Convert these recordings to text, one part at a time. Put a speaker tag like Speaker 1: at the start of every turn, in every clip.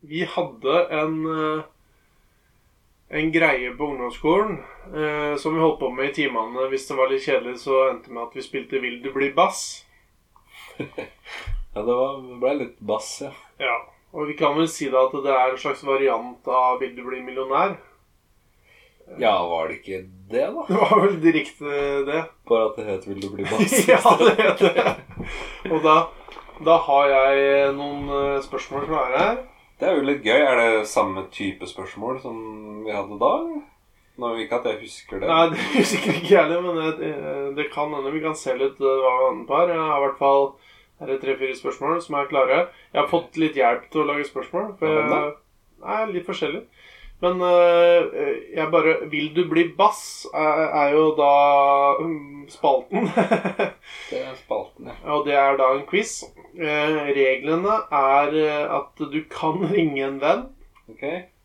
Speaker 1: vi hadde en eh, en greie på ungdomsskolen eh, som vi holdt på med i timene. Hvis det var litt kjedelig, så endte det med at vi spilte 'Vil du bli bass'.
Speaker 2: Ja, det var, det ble litt bass, ja.
Speaker 1: Ja. Og vi kan vel si da at det er en slags variant av 'Vil du bli millionær'.
Speaker 2: Ja, var det ikke det, da?
Speaker 1: Det var vel direkte det.
Speaker 2: Bare at det het 'Vil du bli bass'?
Speaker 1: ja, det heter det. Og da, da har jeg noen eh, spørsmål klare her.
Speaker 2: Det er jo litt gøy. Er det samme type spørsmål som vi hadde da? eller? Nå, ikke at jeg husker det.
Speaker 1: Nei, det husker ikke jeg heller, men det, det kan hende vi kan se litt eh, hva vi annet par. Jeg har i hvert fall her er tre-fire spørsmål som er klare. Jeg har fått litt hjelp til å lage spørsmål. For
Speaker 2: Ja, men da.
Speaker 1: jeg, nei, litt forskjellig. Men eh, jeg bare Vil du bli bass? er, er jo da mm, spalten.
Speaker 2: Det er spalten, ja.
Speaker 1: Og det er da en quiz. Eh, reglene er eh, at du kan ringe en venn.
Speaker 2: Ok.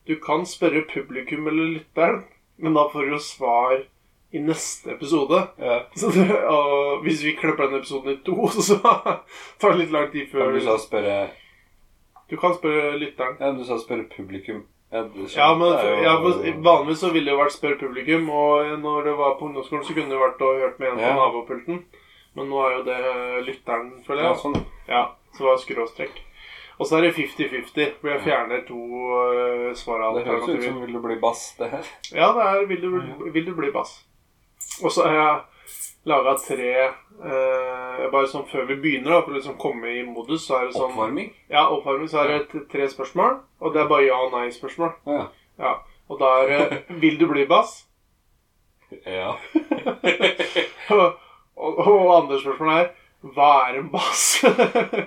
Speaker 1: Du kan spørre publikum eller lytteren, men da får du svar i neste episode.
Speaker 2: Ja.
Speaker 1: Så det, og hvis vi klipper den episoden i to, så tar det litt lang tid
Speaker 2: Men
Speaker 1: før
Speaker 2: du sa spørre
Speaker 1: Du kan spørre lytteren.
Speaker 2: Ja, du sa spørre publikum. Ja, det skjønner
Speaker 1: Ja, men
Speaker 2: jeg, det er
Speaker 1: ja,
Speaker 2: jo-
Speaker 1: men Vanligvis så ville det jo vært spør publikum, og når det var på ungdomsskolen, så kunne det vært og hørt med en på
Speaker 2: Ja.
Speaker 1: nabopulten. Men nå er jo det lytteren, føler jeg. altså.
Speaker 2: ja, sånn.
Speaker 1: Ja, så var det skråstrekk. Og så er det 50-50, hvor jeg fjerner to uh,
Speaker 2: Det høres ut som
Speaker 1: svaralternativer.
Speaker 2: 'Vil du bli bass', det her.
Speaker 1: Ja, det er vil du, vil du bli bass. Og så har jeg laga tre eh, Bare sånn før vi begynner, da, for å liksom komme i modus, så er det sånn
Speaker 2: Oppvarming?
Speaker 1: Ja, oppvarming, så er det t- tre spørsmål, og det er bare ja- og nei-spørsmål.
Speaker 2: Ja.
Speaker 1: Ja. Og da er det Vil du bli bass?
Speaker 2: ja.
Speaker 1: og, og, og andre spørsmål er Hva er en bass? nei,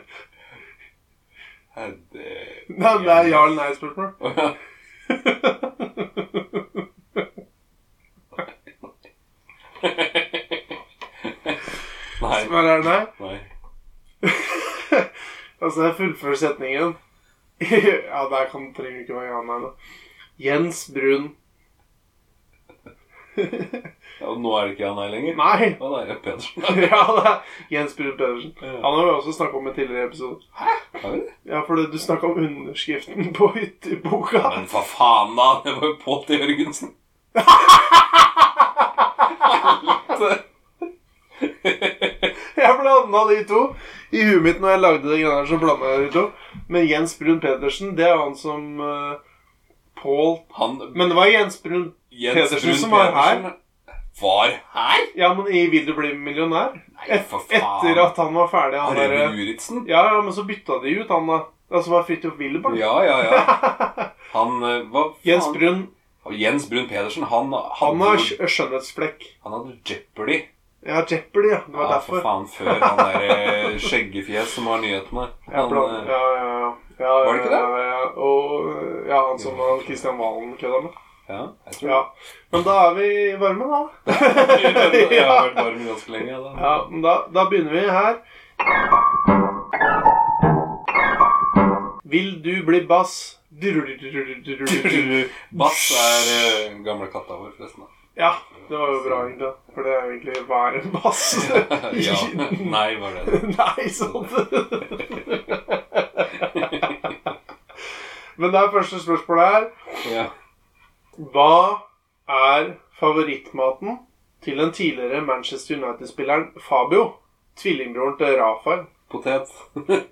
Speaker 2: Er det
Speaker 1: det er ja- eller nei-spørsmål.
Speaker 2: Å, ja. Nei.
Speaker 1: Hva er det nei?
Speaker 2: Nei.
Speaker 1: Altså, jeg fullfører setningen. ja, der kan trenger ikke være han her, da. Jens Brun.
Speaker 2: Ja, og nå er det ikke han her lenger?
Speaker 1: Nei!
Speaker 2: Å nei, Pedersen.
Speaker 1: ja, det er Jens Brun Pedersen.
Speaker 2: Ja.
Speaker 1: Han har vi også snakka om i tidligere episode.
Speaker 2: Er vi det?
Speaker 1: Ja, for du snakka om underskriften på hytteboka.
Speaker 2: Men for faen, da! Det var jo på til Jørgensen. Helvete.
Speaker 1: Jeg blanda de to. I huet mitt når jeg lagde det greiene her, så blanda jeg de to. Men Jens Brun Pedersen, det er han som eh, Pål
Speaker 2: Han
Speaker 1: Men det var Jens Brun Pedersen
Speaker 2: Brun
Speaker 1: som var her.
Speaker 2: Pedersen Var her?
Speaker 1: Ja, men i Vil du bli millionær?
Speaker 2: Nei,
Speaker 1: Et,
Speaker 2: for faen.
Speaker 1: etter at han var ferdig, han derre
Speaker 2: Arve Juritzen?
Speaker 1: Ja, ja, men så bytta de ut han da. Altså var Fridtjof Willebach.
Speaker 2: Ja, ja, ja. Han eh, Hva faen?
Speaker 1: Jens Brun,
Speaker 2: Jens Brun Pedersen, han
Speaker 1: han har
Speaker 2: hadde,
Speaker 1: skj- skjønnhetsflekk.
Speaker 2: han hadde Jeopardy.
Speaker 1: Ja, Jeopardy, ja. Det var
Speaker 2: Ja, for
Speaker 1: derfor.
Speaker 2: faen, før han der eh, skjeggefjes som var nyhetene.
Speaker 1: Ja,
Speaker 2: Han,
Speaker 1: blant-
Speaker 2: eh,
Speaker 1: ja, ja, ja. ja,
Speaker 2: Var det ikke
Speaker 1: Ja,
Speaker 2: det?
Speaker 1: ja, ja. Og øh, ja, han som han Christian Valen kødda med.
Speaker 2: ja, jeg tror
Speaker 1: Ja. Men da er vi i varmen, da.
Speaker 2: Jeg har vært varm ganske lenge. Da.
Speaker 1: Ja, men da, da begynner vi her. Vil du bli bass?
Speaker 2: Bass er eh, gamle katta vår, forresten. da.
Speaker 1: Ja, det var jo bra, egentlig. For det er jo egentlig hva er en bass?
Speaker 2: ja. Nei, var det det.
Speaker 1: Nei, sånn Men det er første spørsmålet her.
Speaker 2: Ja.
Speaker 1: Hva er favorittmaten til den tidligere Manchester United-spilleren Fabio? Tvillingbroren til Rafael.
Speaker 2: Potet.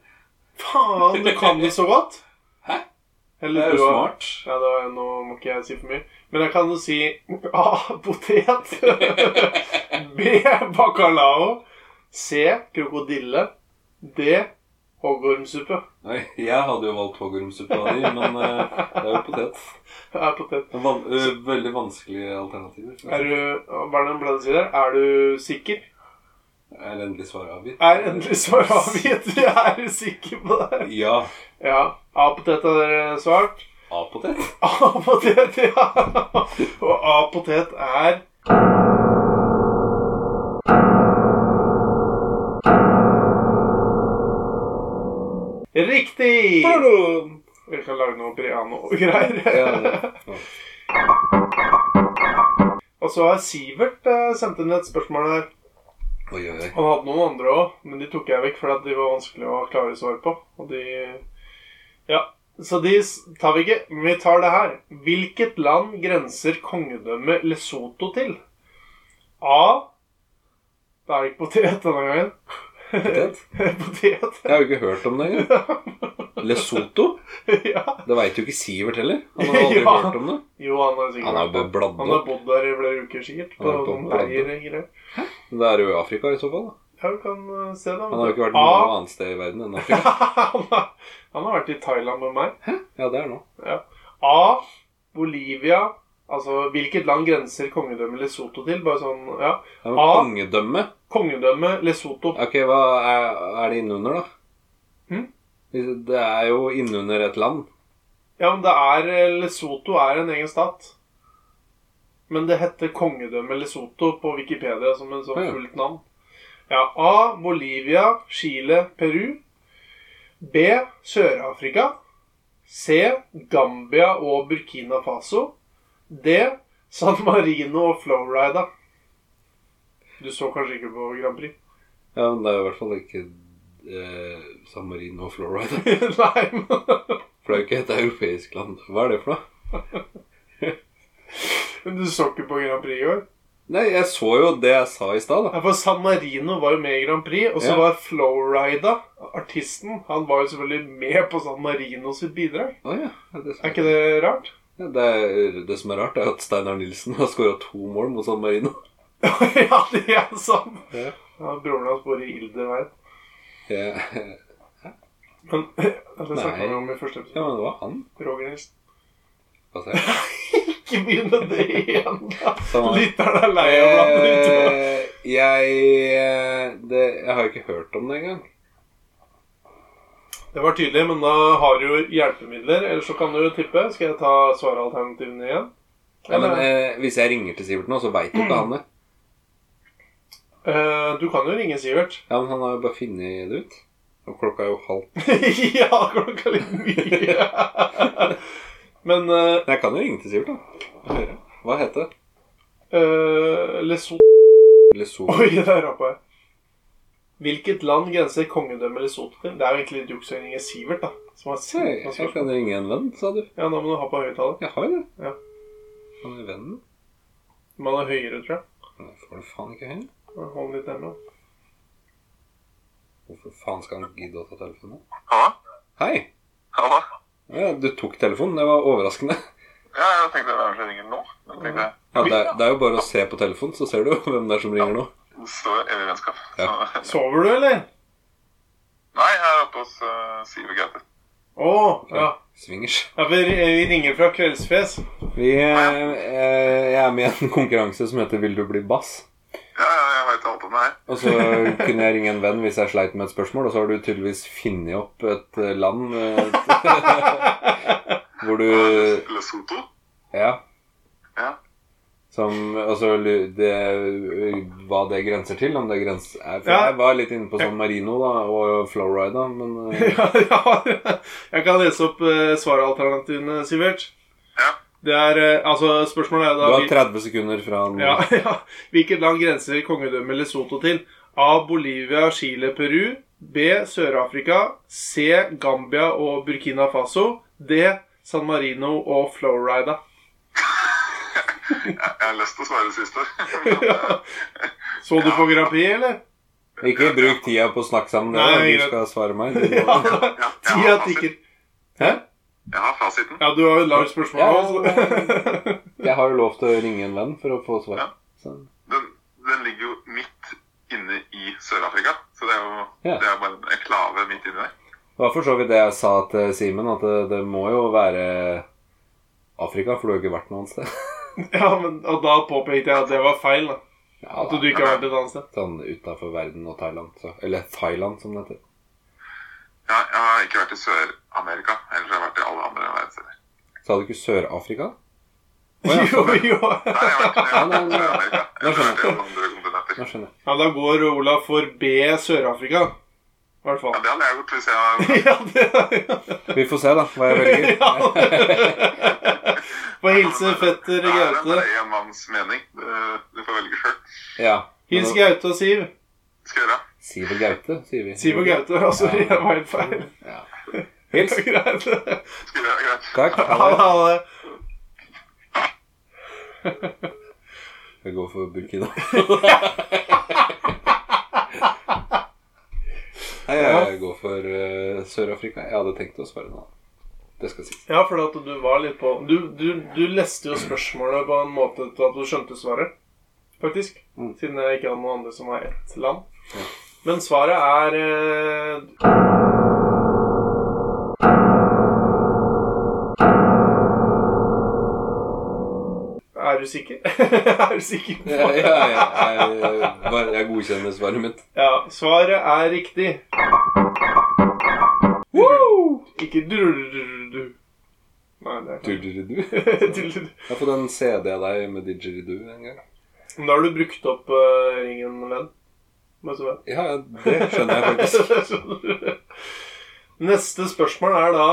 Speaker 1: Faen, du kan det så godt!
Speaker 2: Hæ? Det
Speaker 1: Eller
Speaker 2: er
Speaker 1: du
Speaker 2: jo
Speaker 1: har-
Speaker 2: smart.
Speaker 1: Ja, det var, nå må ikke jeg si for mye. Men jeg kan jo si A. Potet. B. Bacalao. C. Krokodille. D. Hoggormsuppe.
Speaker 2: Nei, jeg hadde jo valgt hoggormsuppe av de, men eh, det er jo potet.
Speaker 1: Ja, potet.
Speaker 2: Men Van eh, veldig vanskelige alternativer.
Speaker 1: Er du Hva er det han pleide å si der? Er du sikker?
Speaker 2: Er endelig svaret avgitt?
Speaker 1: Er endelig svar avgitt? Jeg er du sikker på det?
Speaker 2: Ja.
Speaker 1: Ja. A-potet er dere svart.
Speaker 2: A-potet?
Speaker 1: A-potet, ja. Og A-potet er Riktig! Vi kan lage noe Briano og
Speaker 2: Ja,
Speaker 1: greier.
Speaker 2: det-
Speaker 1: Og så har Sivert eh, sendt inn et spørsmål her.
Speaker 2: Oi, oi, oi.
Speaker 1: Han hadde noen andre òg, men de tok jeg vekk fordi at de var vanskelig å ha klare svar på. Og de Ja. Så de s- tar vi ikke. Men vi tar det her. Hvilket land grenser kongedømmet Lesotho til? A. Da er det ikke potet denne gangen.
Speaker 2: Potet?
Speaker 1: potet.
Speaker 2: Jeg har jo ikke hørt om det engang. Lesotho?
Speaker 1: ja.
Speaker 2: Det veit jo ikke Sivert heller. Han har aldri
Speaker 1: Ja.
Speaker 2: hørt om det.
Speaker 1: Jo, han har sikkert
Speaker 2: Han har jo bare bladd
Speaker 1: Han har
Speaker 2: opp.
Speaker 1: bodd der i flere uker, sikkert. På
Speaker 2: Han har bodd
Speaker 1: noen
Speaker 2: på
Speaker 1: leier og greier.
Speaker 2: Det er jo i Afrika i så fall. da.
Speaker 1: Ja, du kan eh, se det.
Speaker 2: Han har jo ikke vært
Speaker 1: A.
Speaker 2: noe annet sted i verden enn Afrika.
Speaker 1: han, har, han har vært i Thailand med meg.
Speaker 2: Ja, det er nå.
Speaker 1: A. Bolivia. Altså, hvilket land grenser kongedømmet Lesotho til? Bare sånn, ja.
Speaker 2: Ja, men
Speaker 1: A.
Speaker 2: kongedømme
Speaker 1: Kongedømmet Lesotho.
Speaker 2: Ok, hva er, er det innunder, da?
Speaker 1: Hm?
Speaker 2: Det er jo innunder et land.
Speaker 1: Ja, men det er eh, Lesotho er en egen stat. Men det heter kongedømmet Lesotho på Wikipedia som en sånn
Speaker 2: Ja.
Speaker 1: fullt navn. Ja, A. Bolivia, Chile, Peru. B. Sør-Afrika. C. Gambia og Burkina Faso. D. San Marino og Florida. Du så kanskje ikke på Grand Prix?
Speaker 2: Ja, men det er jo i hvert fall ikke eh, San Marino og Florida.
Speaker 1: Nei, men,
Speaker 2: For det er jo ikke et europeisk land. Hva er det for noe?
Speaker 1: men du så ikke på Grand Prix i år?
Speaker 2: Nei, jeg så jo det jeg sa i stad, da.
Speaker 1: Ja, for San Marino var jo med i Grand Prix, og så
Speaker 2: Ja.
Speaker 1: var Flowrida, artisten, han var jo selvfølgelig med på San Marino sitt bidrag.
Speaker 2: Å ja. ja, Det,
Speaker 1: Er ikke det rart?
Speaker 2: ja, det, er, det som er rart, er at Steinar Nilsen har skåra to mål mot San Marino.
Speaker 1: ja, det er sant.
Speaker 2: Ja.
Speaker 1: Ja, broren hans bor i Ilderveien.
Speaker 2: Ja,
Speaker 1: Men det snakka
Speaker 2: Nei.
Speaker 1: vi om i første episode.
Speaker 2: ja men det var han.
Speaker 1: Roger Nilsen.
Speaker 2: Hva sa jeg?
Speaker 1: Ikke begynn med det igjen, da.
Speaker 2: Samme.
Speaker 1: Lytteren er lei av blant annet.
Speaker 2: Sånn. Eh, jeg eh, det, Jeg har jo ikke hørt om det engang.
Speaker 1: Det var tydelig, men da har du jo hjelpemidler. Eller så kan du jo tippe. Skal jeg ta svaralternativene igjen?
Speaker 2: Ja, men
Speaker 1: Eller-
Speaker 2: eh, Hvis jeg ringer til Sivert nå, så veit jo ikke han det.
Speaker 1: Eh, du kan jo ringe Sivert.
Speaker 2: Ja, men han har jo bare funnet det ut. Og klokka er jo halv
Speaker 1: ja, klokka er litt mye. Men eh,
Speaker 2: Jeg kan jo ringe til Sivert, da. Og høre. Hva heter det?
Speaker 1: eh, Lesotho
Speaker 2: Lesotho.
Speaker 1: Oi, der oppe. Hvilket land grenser kongedømmet Lesotho til? Det er jo egentlig litt juks å ringe Sivert, da. Som har
Speaker 2: Se,
Speaker 1: sendt oss
Speaker 2: Jeg
Speaker 1: spørsmål.
Speaker 2: kan ringe en venn, sa du.
Speaker 1: Ja, nå må du ha på høyttaler.
Speaker 2: Jeg har jo det.
Speaker 1: Ja.
Speaker 2: Han er vennen.
Speaker 1: Man er høyere, tror jeg.
Speaker 2: Men jeg får det faen ikke høyere.
Speaker 1: Hold den litt nærmere.
Speaker 2: Hvorfor faen skal han gidde å ta telefonen? nå?
Speaker 3: Hallo?
Speaker 2: Hei!
Speaker 3: Hallo?
Speaker 2: Ja, du tok telefonen. Det var overraskende.
Speaker 3: Ja, jeg tenkte hvem er det som ringer nå? Jeg tenkte,
Speaker 2: Ja, det, er, det er jo bare å se på telefonen, så ser du jo hvem det er som ringer nå.
Speaker 3: Det står evig vennskap.
Speaker 2: Ja.
Speaker 3: Så,
Speaker 1: Sover du, eller?
Speaker 3: nei, jeg er oppe hos uh, Sive Gaute.
Speaker 1: Å, ja.
Speaker 2: Swingers.
Speaker 1: ja. Vi vi ringer fra Kveldsfjes.
Speaker 2: Vi eh, eh, jeg er med i en konkurranse som heter 'Vil du bli bass?'
Speaker 3: Ja, ja, jeg veit alt om det her.
Speaker 2: Og så kunne jeg ringe en venn hvis jeg sleit med et spørsmål, og så har du tydeligvis funnet opp et eh, land eh, hvor du eh,
Speaker 3: Lesotho?
Speaker 2: Ja.
Speaker 3: Ja.
Speaker 2: Som Altså lu- det, hva det grenser til, om det grenser er, For
Speaker 1: Ja.
Speaker 2: jeg var litt inne på San Marino da, og Florida, men eh,
Speaker 1: ja, ja. Jeg kan lese opp eh, svaralternativene, Sivert.
Speaker 3: Ja.
Speaker 1: Det er, eh, altså, spørsmålet er
Speaker 2: Du
Speaker 1: da
Speaker 2: har
Speaker 1: hvil-
Speaker 2: 30 sekunder fra nå.
Speaker 1: Ja, ja. Hvilket land grenser kongedømmet Lesotho til? A. Bolivia, Chile, Peru. B. Sør-Afrika. C. Gambia og Burkina Faso. D. San Marino og Florida.
Speaker 3: Jeg, jeg har lyst til å svare det siste.
Speaker 1: Ja. Så du på Grand Prix, eller?
Speaker 2: Ikke bruk tida på å snakke sammen, det,
Speaker 1: Nei,
Speaker 2: da.
Speaker 1: greit.
Speaker 2: du skal svare meg.
Speaker 1: Ja,
Speaker 3: Ja, jeg,
Speaker 1: Tida
Speaker 3: har fasit.
Speaker 1: tikker.
Speaker 2: Hæ?
Speaker 3: jeg har fasiten.
Speaker 1: Ja, du har jo et langt spørsmål.
Speaker 2: Ja,
Speaker 1: altså.
Speaker 2: Jeg har jo lov til å ringe en venn for å få svar.
Speaker 3: Ja.
Speaker 2: Så,
Speaker 3: Den, den ligger jo midt inne i Sør-Afrika. Så det er jo
Speaker 2: Ja.
Speaker 3: det er jo bare en enklave midt inni der.
Speaker 2: det var for så vidt det jeg sa til Simen, at det, det må jo være Afrika, for du har jo ikke vært noe annet sted.
Speaker 1: Ja, men og da påpekte jeg at det var feil. da.
Speaker 2: Ja,
Speaker 1: At
Speaker 2: da,
Speaker 1: du ikke har vært et annet sted.
Speaker 2: Sånn utafor verden og Thailand. Så. Eller Thailand, som det heter.
Speaker 3: Ja, jeg har ikke vært i Sør-Amerika. Ellers har jeg vært i alle andre verdensdeler.
Speaker 2: Sa du ikke Sør-Afrika? Å, ja,
Speaker 1: Jo, jo.
Speaker 3: Nei, jeg har vært i
Speaker 2: nei, nei.
Speaker 3: Sør-Amerika.
Speaker 2: Nå
Speaker 3: Ellers har
Speaker 2: skjønner
Speaker 3: jeg vært i alle andre kontinenter.
Speaker 2: Nå skjønner jeg.
Speaker 1: Ja, da går Olav for B Sør-Afrika. I hvert fall.
Speaker 3: Ja, det hadde jeg gjort hvis jeg var
Speaker 1: Ja, det
Speaker 2: Vi får se, da, hva jeg velger.
Speaker 1: Få hilse fetter
Speaker 3: Nei, Det
Speaker 1: Gaute.
Speaker 3: er bare én manns mening. Du- Du får velge sjøl.
Speaker 2: Ja. men
Speaker 1: Hils
Speaker 2: da-
Speaker 1: Gaute og Siv.
Speaker 3: Skal jeg gjøre.
Speaker 2: Siv og Gaute, sier vi.
Speaker 1: Siv og Gaute. Altså, jeg var helt feil.
Speaker 2: Ja. Hils.
Speaker 1: Greit.
Speaker 3: Skal vi gjøre det?
Speaker 2: Takk.
Speaker 3: greit?
Speaker 1: Ha det,
Speaker 2: Ha det.
Speaker 1: ha det.
Speaker 2: Jeg går for Burkina. Nei, jeg går for eh, Sør-Afrika. Jeg hadde tenkt å spørre nå. Det skal sies.
Speaker 1: Ja, for at du var litt på du, du, du leste jo spørsmålet på en måte til at du skjønte svaret, faktisk.
Speaker 2: Mm.
Speaker 1: Siden jeg ikke hadde noen andre som var ett land. Men svaret er eh, Er du sikker? er du sikker? på-
Speaker 2: Jeg, jeg, jeg, jeg, bare- jeg godkjenner svaret mitt.
Speaker 1: Ja, svaret er riktig. Woo! Ikke du-du-du-du. Nei, det er ikke
Speaker 2: Didgeridoo.
Speaker 1: Didgeridoo.
Speaker 2: Jeg har fått en CD av deg med didgeridoo en gang.
Speaker 1: Men da har du brukt opp eh, ringen med den. Bare så vel.
Speaker 2: Ja, det skjønner jeg faktisk.
Speaker 1: Neste spørsmål er da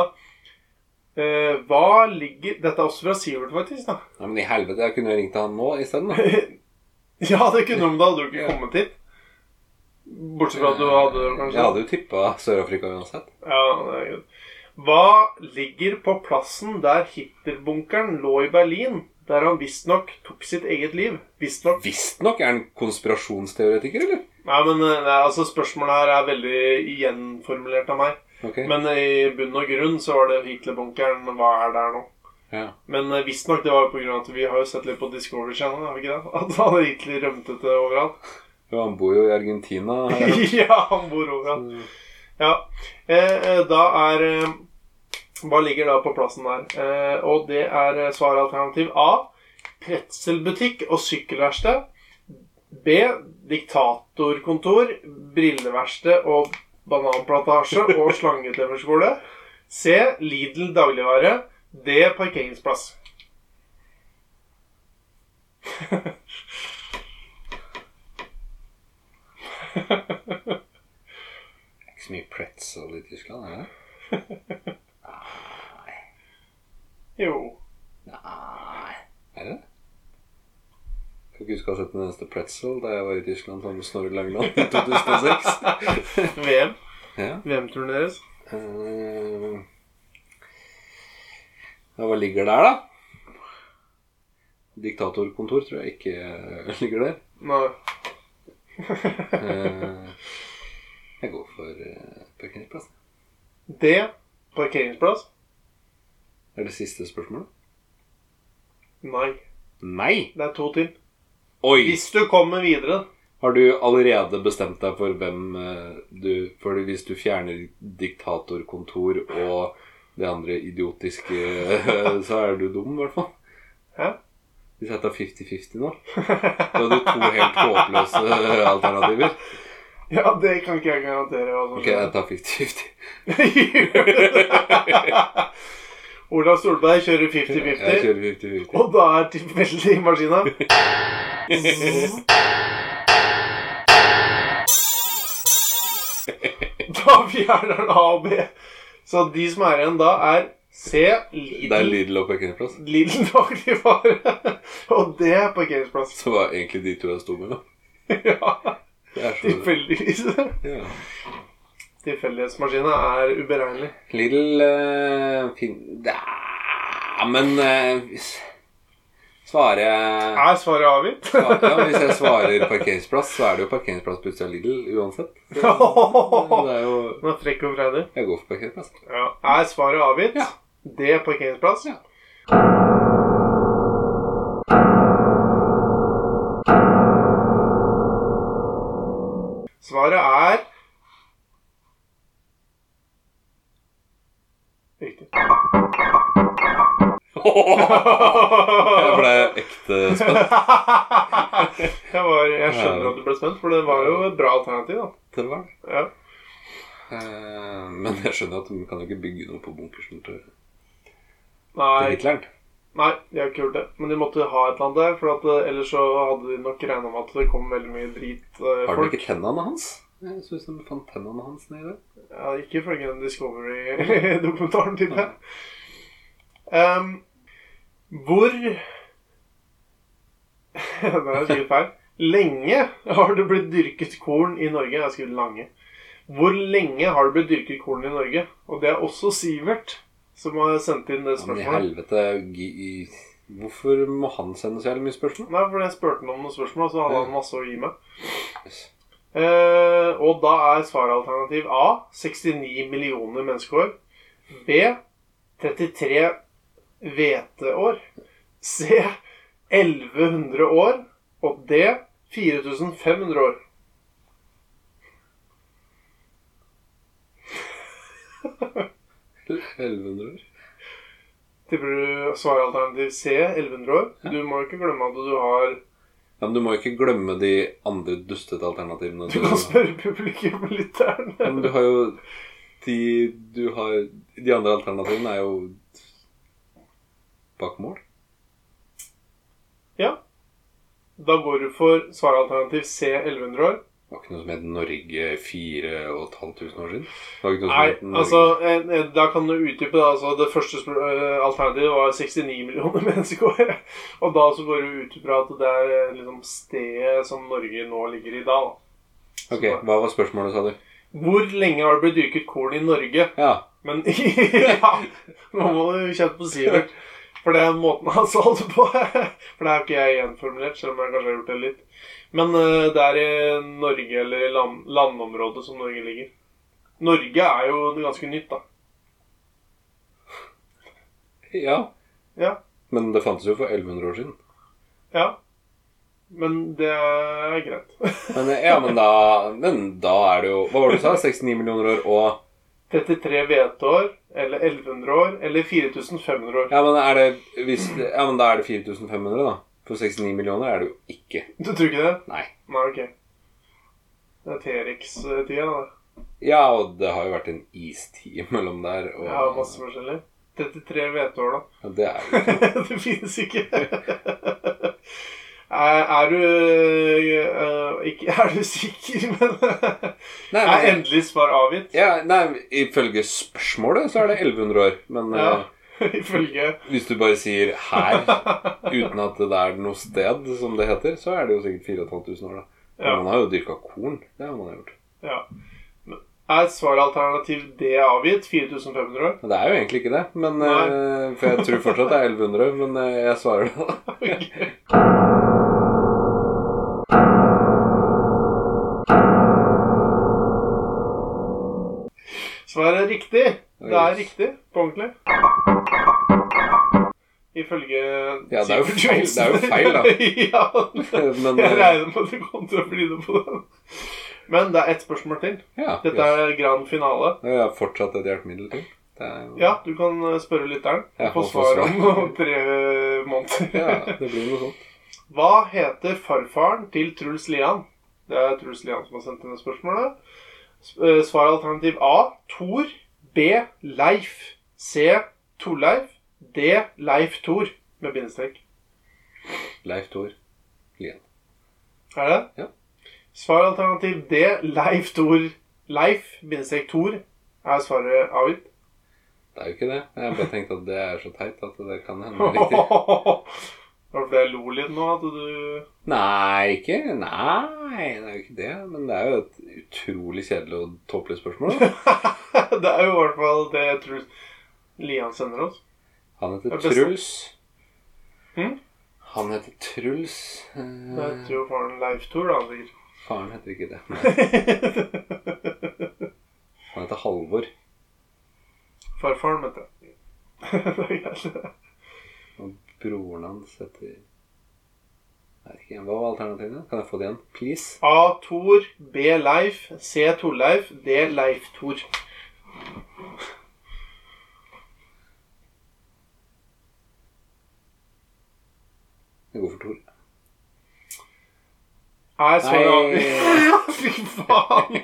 Speaker 1: eh, Hva ligger Dette er også fra Sivert, faktisk. da
Speaker 2: Nei, men i helvete, jeg kunne jo ringt han nå isteden. da.
Speaker 1: Ja, det kunne du, men da hadde du ikke
Speaker 2: Ja. Eh,
Speaker 1: kommet hit. Bortsett fra at du hadde kanskje
Speaker 2: Jeg hadde jo tippa Sør-Afrika uansett.
Speaker 1: Ja, det er greit. Hva ligger på plassen der Hitlerbunkeren lå i Berlin, der han visstnok tok sitt eget liv? Visstnok
Speaker 2: Visstnok er han konspirasjonsteoretiker, eller?
Speaker 1: Nei, men eh, nei, altså spørsmålet her er veldig gjenformulert av meg.
Speaker 2: Ok.
Speaker 1: Men eh, i bunn og grunn så var det Hitlerbunkeren Hva er der nå?
Speaker 2: Ja.
Speaker 1: Men eh, visstnok det var jo på grunn av at vi har jo sett litt på Discovery Channel, har vi ikke det? At han Hitler rømte til overalt.
Speaker 2: Ja, han bor jo i Argentina.
Speaker 1: ja, han bor overalt. Ja. Eh, eh, da er eh, Hva ligger da på plassen der? Eh, og det er eh, svaralternativ A. Pretzelbutikk og sykkelverksted. B. Diktatorkontor, brilleverksted og bananplantasje og slangetømmerskole. C. Lidl dagligvare. D. Parkeringsplass.
Speaker 2: Ikke så mye pretzel i Tyskland, er det?
Speaker 1: Jo.
Speaker 2: Nei. Er det? Jeg kan ikke huske å ha sett den eneste pretzel da jeg var i Tyskland sammen med Snorre Langeland i 2006.
Speaker 1: VM.
Speaker 2: ja.
Speaker 1: VM-turen deres.
Speaker 2: Eh, Ja, hva ligger der, da? Diktatorkontor tror jeg ikke eh, ligger der.
Speaker 1: Nei.
Speaker 2: Eh, Jeg går for eh, parkeringsplassen.
Speaker 1: D. Parkeringsplass.
Speaker 2: Er det siste spørsmålet?
Speaker 1: Nei.
Speaker 2: Nei!
Speaker 1: Det er to til.
Speaker 2: Oi!
Speaker 1: Hvis du kommer videre
Speaker 2: Har du allerede bestemt deg for hvem eh, du For hvis du fjerner diktatorkontor og det andre idiotiske, eh, så er du dum, i hvert fall.
Speaker 1: Hæ?
Speaker 2: Hvis jeg tar 50-50 nå, da hadde du to helt håpløse eh, alternativer.
Speaker 1: Ja, det kan ikke jeg garantere. hva som
Speaker 2: Ok, jeg tar 50-50.
Speaker 1: skjer. Ola Solberg kjører
Speaker 2: Jeg
Speaker 1: 50-50,
Speaker 2: kjører 50-50.
Speaker 1: og da er tilfeldig maskina. Zzz. Da fjerner han A og B. Så de som er igjen da, er C,
Speaker 2: Det er
Speaker 1: Lidl,
Speaker 2: Lidl og parkeringsplass.
Speaker 1: Lidl dagligvare og D, parkeringsplass.
Speaker 2: Så var egentlig de to jeg sto mellom.
Speaker 1: Ja,
Speaker 2: Det er så
Speaker 1: tilfeldigvis.
Speaker 2: ja.
Speaker 1: Tilfeldighetsmaskina er uberegnelig.
Speaker 2: Lidl eh, fin... Ja, men eh, hvis... Svarer jeg
Speaker 1: Er svaret avgitt?
Speaker 2: Ja, ja, men Hvis jeg svarer parkeringsplass, så er det jo parkeringsplass på utsida av Lidl uansett.
Speaker 1: Den
Speaker 2: Det er jo
Speaker 1: er frekk og freidig.
Speaker 2: Jeg går for parkeringsplass.
Speaker 1: Ja. Er svaret avgitt?
Speaker 2: Ja.
Speaker 1: Det er parkeringsplass?
Speaker 2: Ja.
Speaker 1: Svaret er Riktig.
Speaker 2: Jeg ble ekte spent.
Speaker 1: jeg, var, jeg skjønner at du ble spent, for det var jo et bra alternativ, da.
Speaker 2: Det var det.
Speaker 1: Ja.
Speaker 2: Eh, Men jeg skjønner at de kan jo ikke bygge noe på bunkersen til til
Speaker 1: Nei,
Speaker 2: Hitleren.
Speaker 1: nei, de har ikke gjort det. Men de måtte ha et eller annet der, for at, eh, ellers så hadde de nok regna med at det kom veldig mye drit eh,
Speaker 2: Har de
Speaker 1: folk.
Speaker 2: ikke tennene hans? Jeg syns de fant tennene hans nedi der.
Speaker 1: Ja, ikke ifølge den Discovery-dokumentaren, tipper jeg. Ehm, hvor Det er sikkert feil. Lenge har det blitt dyrket korn i Norge. Jeg har skrevet lange. Hvor lenge har det blitt dyrket korn i Norge? Og det er også Sivert som har sendt inn det
Speaker 2: Men i
Speaker 1: spørsmålet.
Speaker 2: helvete gi- Hvorfor må han sende så jævlig mye spørsmål?
Speaker 1: Nei, for jeg spurte han om noen spørsmål, så hadde
Speaker 2: Ja.
Speaker 1: han masse å gi meg.
Speaker 2: Yes.
Speaker 1: Eh, og da er svaralternativ A 69 millioner menneskeår. B 33 hveteår. C 1100 år. Og D 4500 år.
Speaker 2: Til 1100 år.
Speaker 1: Tipper du svaralternativ C 1100 år? Du må jo ikke glemme at du har
Speaker 2: Ja, men du må jo ikke glemme de andre dustete alternativene.
Speaker 1: Du kan spørre publikum litt der
Speaker 2: Ja, men
Speaker 1: nede.
Speaker 2: du har jo de, du har, de andre alternativene er jo bak mål.
Speaker 1: Ja. Da går du for svaralternativ C 1100 år.
Speaker 2: Det var ikke noe som het Norge 4500 år siden. Det var ikke noe som
Speaker 1: Nei,
Speaker 2: het Norge.
Speaker 1: altså en- en- Da kan du utdype det. Altså, det første spør- eh, alternativet var 69 millioner mennesker. Og da så går du ut fra at det er eh, liksom stedet som Norge nå ligger i da. da.
Speaker 2: Ok, Hva var spørsmålet, sa du?
Speaker 1: Hvor lenge har det blitt dyrket korn i Norge?
Speaker 2: Ja.
Speaker 1: Men ja, nå må du kjenne på Sivert. For det er måten han sa det på. For det har ikke jeg gjenformulert, selv om jeg kanskje har gjort det litt. Men eh, det er i Norge eller i land, landområdet som Norge ligger. Norge er jo ganske nytt, da.
Speaker 2: ja.
Speaker 1: Ja.
Speaker 2: Men det fantes jo for 1100 år siden.
Speaker 1: ja. Men det er greit.
Speaker 2: Men, ja, men da, men da er det jo Hva var det du sa? 69 millioner år og
Speaker 1: 33 hveteår, eller 1100 år, eller 4500 år.
Speaker 2: Ja, men, er det, hvis, ja, men da er det 4500, da. For 69 millioner er det jo ikke.
Speaker 1: Du tror ikke det?
Speaker 2: Nei.
Speaker 1: Nei, ok. Det er T-rex-tida, da.
Speaker 2: Ja, og det har jo vært en istid mellom der, og
Speaker 1: Jeg har masse forskjellig. 33 hveteår, da.
Speaker 2: Ja, Det er jo
Speaker 1: det finnes ikke. er, er du øh, ikke, Er du sikker, men
Speaker 2: Nei,
Speaker 1: Er
Speaker 2: men,
Speaker 1: endelig svar avgitt?
Speaker 2: ja, nei, ifølge spørsmålet så er det 1100 år. Men
Speaker 1: Ja.
Speaker 2: eh,
Speaker 1: Ifølge
Speaker 2: hvis du bare sier her, uten at det er noe sted, som det heter, så er det jo sikkert 4500 år, da. Men
Speaker 1: Ja.
Speaker 2: man har jo dyrka korn. Det har man gjort.
Speaker 1: Ja. Men Er svaralternativ D avgitt? 4500 år?
Speaker 2: Men det er jo egentlig ikke det. Men,
Speaker 1: Nei.
Speaker 2: eh, for jeg tror fortsatt det er 1100, men eh, jeg svarer det, da.
Speaker 1: Ok. Svaret er riktig. Det er
Speaker 2: Yes.
Speaker 1: riktig på ordentlig. Ifølge
Speaker 2: Ja, det er
Speaker 1: Sivert
Speaker 2: jo feil- det er jo
Speaker 1: Johnsen.
Speaker 2: feil, da.
Speaker 1: ja,
Speaker 2: Men
Speaker 1: jeg
Speaker 2: eh,
Speaker 1: regner med at du kom til å bli det på den. Men det er ett spørsmål til.
Speaker 2: ja,
Speaker 1: Dette er grand finale.
Speaker 2: Det er fortsatt et hjelpemiddel til. Det er jo
Speaker 1: Ja, du kan eh, spørre lytteren.
Speaker 2: Ja,
Speaker 1: Få
Speaker 2: og få
Speaker 1: svar
Speaker 2: svar.
Speaker 1: om tre måneder.
Speaker 2: ja, det blir noe sånt.
Speaker 1: Hva heter farfaren til Truls Lian? Det er Truls Lian som har sendt inn det spørsmålet. S- eh, Svar alternativ A Tor. B Leif. C Torleif. D Leif Tor. Med bindestrek.
Speaker 2: Leif Thor Lien.
Speaker 1: Er det?
Speaker 2: Ja.
Speaker 1: Svar alternativ D Leif Tor. Leif bindestrek Tor er svaret avgitt.
Speaker 2: Det er jo ikke det. Jeg bare tenkte at det er så teit at det kan hende er riktig.
Speaker 1: Var det fordi jeg lo litt nå at du
Speaker 2: Nei, ikke Nei, det er jo ikke det. Men det er jo et utrolig kjedelig og tåpelig spørsmål. da.
Speaker 1: Det er jo i hvert fall det Truls Lian sender oss.
Speaker 2: Han heter
Speaker 1: Det er best-
Speaker 2: Truls.
Speaker 1: Hm?
Speaker 2: Han heter Truls.
Speaker 1: Det
Speaker 2: Eh,
Speaker 1: heter jo faren Leif Tor, da. sikkert.
Speaker 2: Faren heter ikke det. Han heter Halvor.
Speaker 1: Farfaren, vet du. Det er greit.
Speaker 2: Og broren hans heter Nei, ikke Hva var alternativene? Kan jeg få det igjen? Please?
Speaker 1: A. Tor. B. Leif. C. Torleif. D. Leif Tor.
Speaker 2: Jeg går for Tor.
Speaker 1: Er svaret
Speaker 2: Nei.
Speaker 1: avgitt? Fy faen!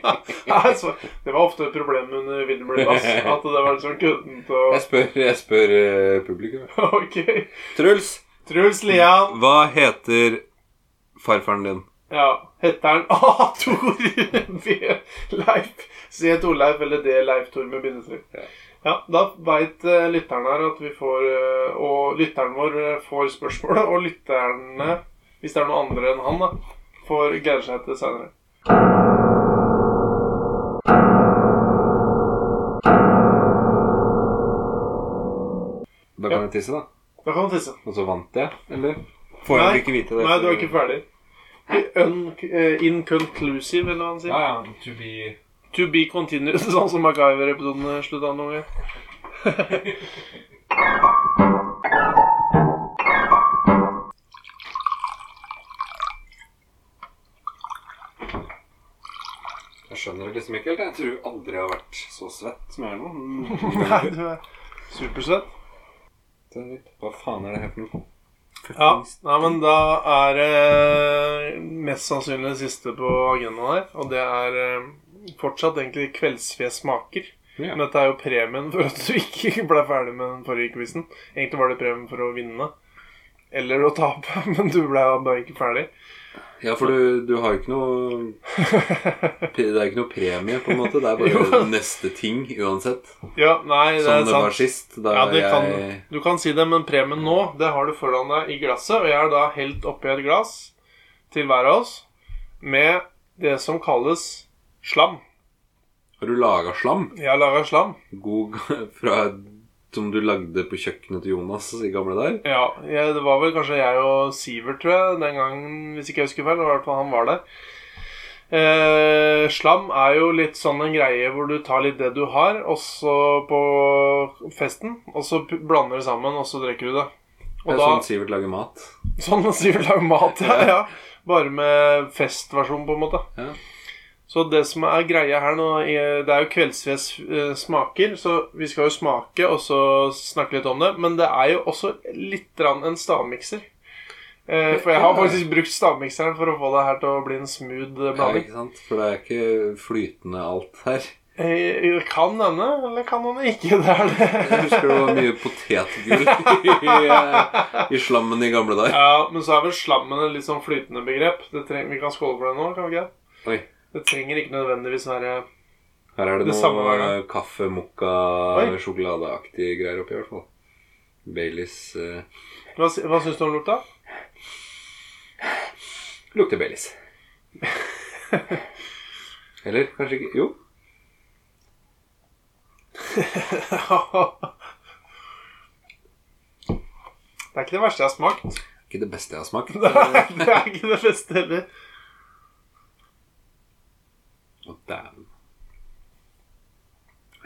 Speaker 1: Er svaret... Det var ofte et problem under Wilhelm Bass. At det var sånn køddent og
Speaker 2: Jeg spør, jeg spør eh, publikum.
Speaker 1: Ok.
Speaker 2: Truls,
Speaker 1: Truls Lian.
Speaker 2: hva heter farfaren din?
Speaker 1: Ja. Heter han A. Tor. B. Leif. C. Torleif eller D. Leif Tor med bindestrek.
Speaker 2: Ja.
Speaker 1: Ja, da veit lytteren her at vi får eh, Og lytteren vår eh, får spørsmålet, og lytterne, hvis det er noen andre enn han, da, får glede seg til seinere.
Speaker 2: Da kan jeg tisse, da.
Speaker 1: Da kan du tisse.
Speaker 2: Og så vant jeg, eller? Får jeg
Speaker 1: Nei.
Speaker 2: vel ikke vite det?
Speaker 1: Nei, du er ikke ferdig. Un eh, inconclusive, eller hva han sier.
Speaker 2: Ja, ja. To be
Speaker 1: To be continued, sånn som MacGyver-episoden slutta noen gang.
Speaker 2: Jeg skjønner det liksom ikke helt. Jeg tror aldri jeg har vært så svett som jeg er nå.
Speaker 1: Nei, du er supersøt.
Speaker 2: Det er litt- Hva faen er det her for noe?
Speaker 1: Ja, nei, men da er det mest sannsynlig det siste på agendaen her. Og det er eh, fortsatt egentlig kveldsfjes smaker.
Speaker 2: Ja.
Speaker 1: Men dette er jo premien for at du ikke ble ferdig med den forrige quizen. Egentlig var det premien for å vinne. Eller å tape, men du ble da ikke ferdig.
Speaker 2: Ja, for du, du har jo ikke noe Det er ikke noe premie, på en måte. Det er bare
Speaker 1: Jo.
Speaker 2: neste ting uansett. Som
Speaker 1: Ja, nei, det
Speaker 2: det,
Speaker 1: er sant.
Speaker 2: var sist. Da
Speaker 1: Ja, det
Speaker 2: jeg
Speaker 1: kan, du kan si det, men premien nå, det har du foran deg i glasset. Og jeg har da helt oppi et glass til hver av oss med det som kalles slam.
Speaker 2: Har du laga slam?
Speaker 1: Jeg har laga slam.
Speaker 2: God g- fra Som du lagde på kjøkkenet til Jonas i gamle dager?
Speaker 1: Ja, jeg, Det var vel kanskje jeg og Sivert, tror jeg, den gangen, hvis ikke jeg husker feil. det var I hvert fall han var der. Eh, slam er jo litt sånn en greie hvor du tar litt det du har, og så på festen, og så p- blander det sammen, og så drikker du det.
Speaker 2: Det er sånn Sivert lager mat.
Speaker 1: Sånn Sivert lager mat, ja, ja. Bare med festversjon, på en måte.
Speaker 2: Ja.
Speaker 1: Så det som er greia her nå, er- det er jo kveldsfest eh, smaker, så vi skal jo smake og så snakke litt om det. Men det er jo også litt grann en stavmikser. Eh, For jeg har faktisk brukt stavmikseren for å få det her til å bli en smooth eh,
Speaker 2: Ja,
Speaker 1: blanding.
Speaker 2: ikke sant? For det er ikke flytende alt her.
Speaker 1: Eh, Kan denne, eller kan den ikke? Det er det.
Speaker 2: Jeg husker det var mye potetgull i, eh, i slammen i gamle dager.
Speaker 1: Ja, men så er vel slammen et litt sånn flytende begrep. Det treng, vi kan skåle for det nå, kan vi ikke?
Speaker 2: Oi,
Speaker 1: Det trenger ikke nødvendigvis være
Speaker 2: her er det,
Speaker 1: Det samme var
Speaker 2: noe
Speaker 1: det.
Speaker 2: kaffe, mokka,
Speaker 1: Oi.
Speaker 2: sjokoladeaktige greier oppi, i hvert fall. Baileys eh,
Speaker 1: Hva, sy- hva syns du om lukta?
Speaker 2: Lukter Baileys. Eller kanskje ikke Jo.
Speaker 1: det er ikke det verste jeg har smakt.
Speaker 2: Ikke det beste jeg har smakt.
Speaker 1: Det er ikke det beste heller.
Speaker 2: Å, dæven.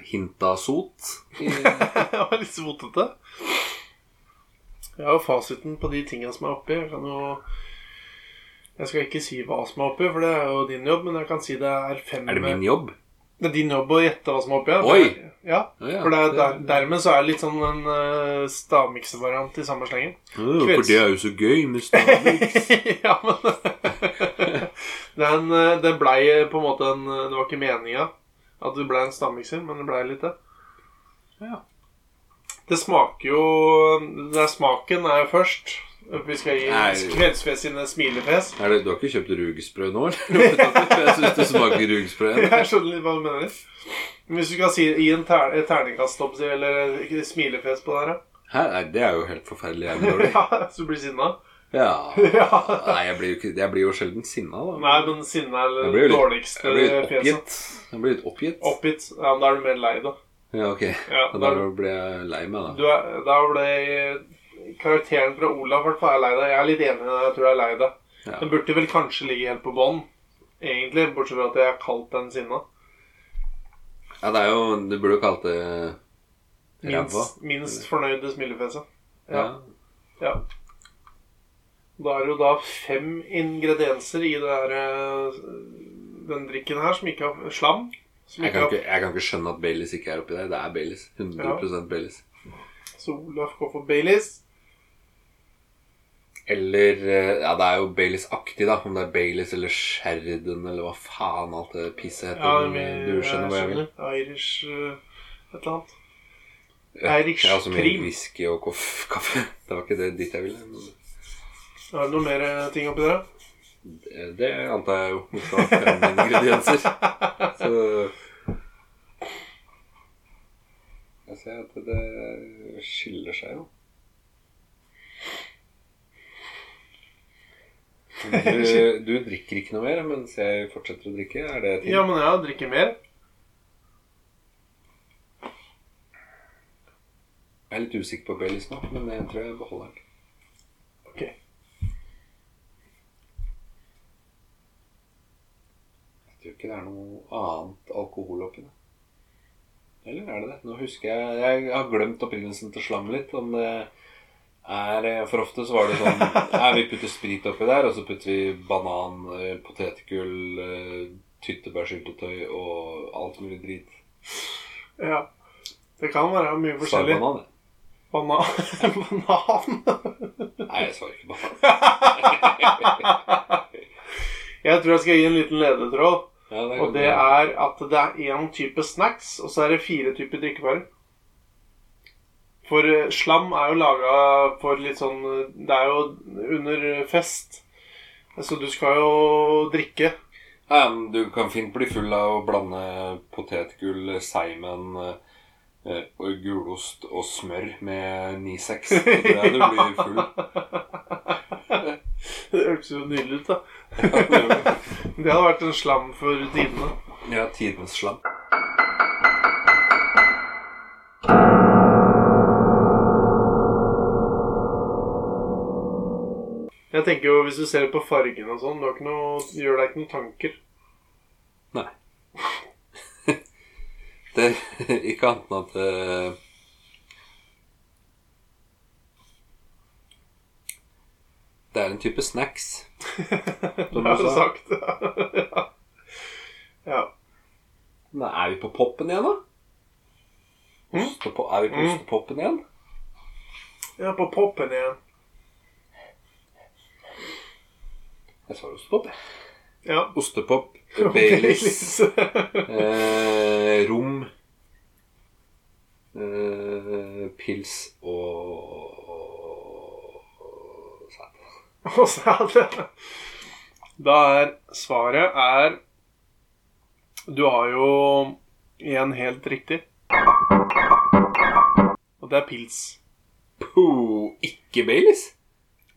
Speaker 2: Hint av sot.
Speaker 1: Det var litt svotete. Jeg har jo fasiten på de tingene som er oppi. Jeg kan jo Jeg skal ikke si hva som er oppi, for det er jo din jobb, men jeg kan si det er fem
Speaker 2: Er det min jobb?
Speaker 1: Det er din jobb å gjette hva som er oppi. ja.
Speaker 2: Oi!
Speaker 1: Ja.
Speaker 2: Å, ja.
Speaker 1: For det er, der, dermed så er det litt sånn en uh, stavmiksevariant i samme slengen.
Speaker 2: Å, For det er jo så gøy med Starbucks.
Speaker 1: ja, men den, eh, den blei på en måte en eh, Det var ikke meninga at det blei en stammikser, men det blei litt det.
Speaker 2: Ja.
Speaker 1: Det smaker jo det er Smaken er jo først. Vi skal
Speaker 2: Nei.
Speaker 1: gi Kveldsfjes sine smilefjes.
Speaker 2: Er det, du har ikke kjøpt rugsprø nå, eller? Jeg syns det smaker rugsprø.
Speaker 1: Jeg skjønner litt hva du mener. Men Hvis du skal si, gi en ter, et terningkast opp til, eller ikke, smilefjes på det her,
Speaker 2: Hæ? Nei, det er jo helt forferdelig jævlig dårlig.
Speaker 1: ja, så blir du sinna?
Speaker 2: Ja.
Speaker 1: Ja.
Speaker 2: Nei, jeg blir jo, ikke, jeg blir jo sjelden sinna, da.
Speaker 1: Nei, men sinne
Speaker 2: Jeg
Speaker 1: er det
Speaker 2: blir jo litt,
Speaker 1: dårligste
Speaker 2: jeg blir litt
Speaker 1: fjeset.
Speaker 2: oppgitt. Jeg blir litt oppgitt.
Speaker 1: Oppgitt. Ja, men da er du mer lei, da.
Speaker 2: Ja, ok.
Speaker 1: Ja, da
Speaker 2: Og Da
Speaker 1: er du
Speaker 2: ble jeg lei meg, da.
Speaker 1: Du er, da ble karakteren fra Olav i hvert fall er lei deg. Jeg er litt enig i deg. Jeg tror jeg er lei deg.
Speaker 2: Ja.
Speaker 1: Den burde vel kanskje ligge helt på bånn, egentlig. Bortsett fra at jeg har kalt den sinna.
Speaker 2: Ja, det er jo Du burde jo kalt det ræva.
Speaker 1: Minst, minst fornøyde smilefjeset.
Speaker 2: Ja.
Speaker 1: Ja. Da er det jo da fem ingredienser i det her, eh, den drikken her som ikke har slam. Som
Speaker 2: Jeg
Speaker 1: ikke
Speaker 2: kan,
Speaker 1: har,
Speaker 2: ikke, jeg kan ikke skjønne at Baileys ikke er oppi der. Det er Baileys. 100 Baileys.
Speaker 1: så Olav går for Baileys.
Speaker 2: Eller eh, Ja, det er jo Baileys-aktig, da. Om det er Baileys eller Sheridan eller hva faen alt det pisset heter.
Speaker 1: Ja,
Speaker 2: men,
Speaker 1: vi-
Speaker 2: du skjønner hva jeg vil.
Speaker 1: Irish eh, et eller annet.
Speaker 2: Ja,
Speaker 1: Irish
Speaker 2: jeg har så mye
Speaker 1: cream.
Speaker 2: Whisky og koff- kaffe. Det var ikke det dit jeg ville. men-
Speaker 1: Er det noe mer eh, ting oppi der? da?
Speaker 2: Eh, Det antar jeg jo ikke har fem ingredienser. Så Jeg ser at det skiller seg jo. Du, du drikker ikke noe mer mens jeg fortsetter å drikke? Er det ting?
Speaker 1: Ja, men jeg drikker mer.
Speaker 2: Jeg er litt usikker på Bellis nå, men jeg tror jeg beholder den.
Speaker 1: Ok.
Speaker 2: Jeg tror ikke det er noe annet alkohol oppi det. Eller er det det? Nå husker jeg Jeg har glemt opprinnelsen til slam litt. Om det er eh, For ofte så var det sånn Nei, vi putter sprit oppi der, og så putter vi banan, eh, potetgull, eh, tyttebærsyltetøy og alt mulig drit.
Speaker 1: Ja. Det kan være mye forskjellig.
Speaker 2: Svarbanan, jeg.
Speaker 1: Banan. banan.
Speaker 2: Nei, jeg svarer ikke banan.
Speaker 1: Jeg tror jeg skal gi en liten ledetråd.
Speaker 2: Ja, det
Speaker 1: Og det er at det er én type snacks, og så er det fire typer drikkevarer. For eh, slam er jo laga for litt sånn eh, Det er jo under fest. Så du skal jo drikke.
Speaker 2: Ja, men du kan fint bli full av å blande potetgull, seimen, eh, og gulost og smør med 9-6. Så tror jeg du blir full.
Speaker 1: Det hørtes jo nydelig ut, da.
Speaker 2: Ja,
Speaker 1: Det hadde vært en slam for tidene.
Speaker 2: Ja, tidens slam.
Speaker 1: Jeg tenker jo, Hvis du ser på fargen og sånn, du har ikke noe, gjør deg ikke noen tanker.
Speaker 2: Nei. Det er ikke annet enn at eh, Det er en type snacks. Som
Speaker 1: Det
Speaker 2: du
Speaker 1: har du
Speaker 2: sa.
Speaker 1: sagt. ja. ja.
Speaker 2: Men er vi på poppen igjen, da?
Speaker 1: Mm.
Speaker 2: Ostepo- Er vi på
Speaker 1: Mm.
Speaker 2: ostepoppen igjen?
Speaker 1: Jeg er på poppen igjen.
Speaker 2: Jeg svarer ostepop, jeg.
Speaker 1: Ja.
Speaker 2: Ostepop, Baileys,
Speaker 1: Baileys.
Speaker 2: eh, rom, eh, pils og sæd.
Speaker 1: Og så er det Da er svaret er Du har jo en helt riktig. Og det er pils.
Speaker 2: Puh, ikke Baileys?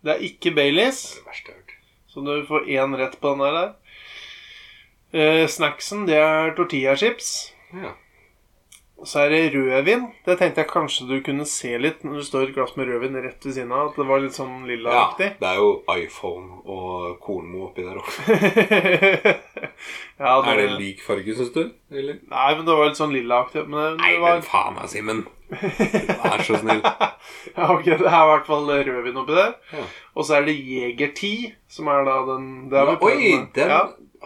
Speaker 1: Det er ikke Baileys,
Speaker 2: Det verste jeg har hørt.
Speaker 1: så du får én rett på den der. Eh, snacksen, det er tortillachips.
Speaker 2: Ja.
Speaker 1: Og så er det rødvin. Det tenkte jeg kanskje du kunne se litt når det står et glass med rødvin rett ved siden av. At det var litt sånn
Speaker 2: ja,
Speaker 1: lillaaktig.
Speaker 2: det er jo iPhone og Kornmo oppi der også.
Speaker 1: ja, det,
Speaker 2: Er det lik farge, syns du? Eller?
Speaker 1: Nei, men det var litt sånn lillaaktig. Men det,
Speaker 2: Nei,
Speaker 1: det var
Speaker 2: men faen meg, Simen. Vær så snill.
Speaker 1: Ja, ok, det er i hvert fall rødvin oppi der.
Speaker 2: Ja.
Speaker 1: Og så er det Jegerti, som er da den det har vi prøvd
Speaker 2: Oi,
Speaker 1: med.
Speaker 2: den
Speaker 1: ja.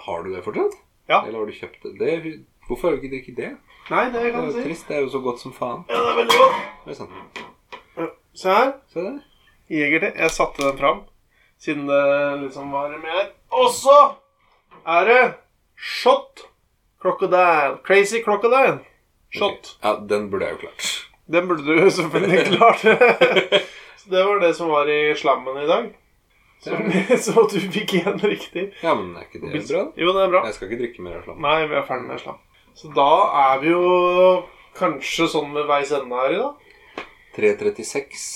Speaker 2: Har du det fortsatt?
Speaker 1: Ja.
Speaker 2: Eller har du kjøpt det? det? Hvorfor har du ikke drukket det?
Speaker 1: Nei, det
Speaker 2: Det
Speaker 1: kan
Speaker 2: er
Speaker 1: du
Speaker 2: jo
Speaker 1: si.
Speaker 2: trist. Det er jo så godt som faen.
Speaker 1: Ja, det er veldig godt.
Speaker 2: Det er sant.
Speaker 1: Se her.
Speaker 2: Se der.
Speaker 1: Jegerti. Jeg satte den fram, siden det liksom var med her. Og så er det Shot Crocodile. Crazy Crocodile. Shot.
Speaker 2: Ja, den burde jeg jo klart.
Speaker 1: Den burde du selvfølgelig klart. så det var det som var i slammen i dag. Så, så du fikk igjen riktig.
Speaker 2: Ja, men er ikke det bra? da?
Speaker 1: Jo, det er bra.
Speaker 2: Jeg skal ikke drikke mer av slam.
Speaker 1: Nei, vi er ferdig med slam. Så da er vi jo kanskje sånn ved veis ende her i dag.
Speaker 2: 3.36.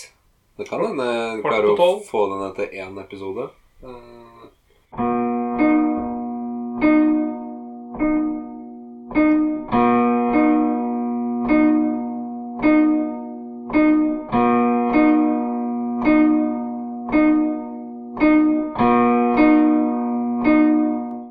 Speaker 2: Det kan hende jeg
Speaker 1: Kvart på
Speaker 2: klarer å
Speaker 1: tolv.
Speaker 2: få den etter én episode. Eh,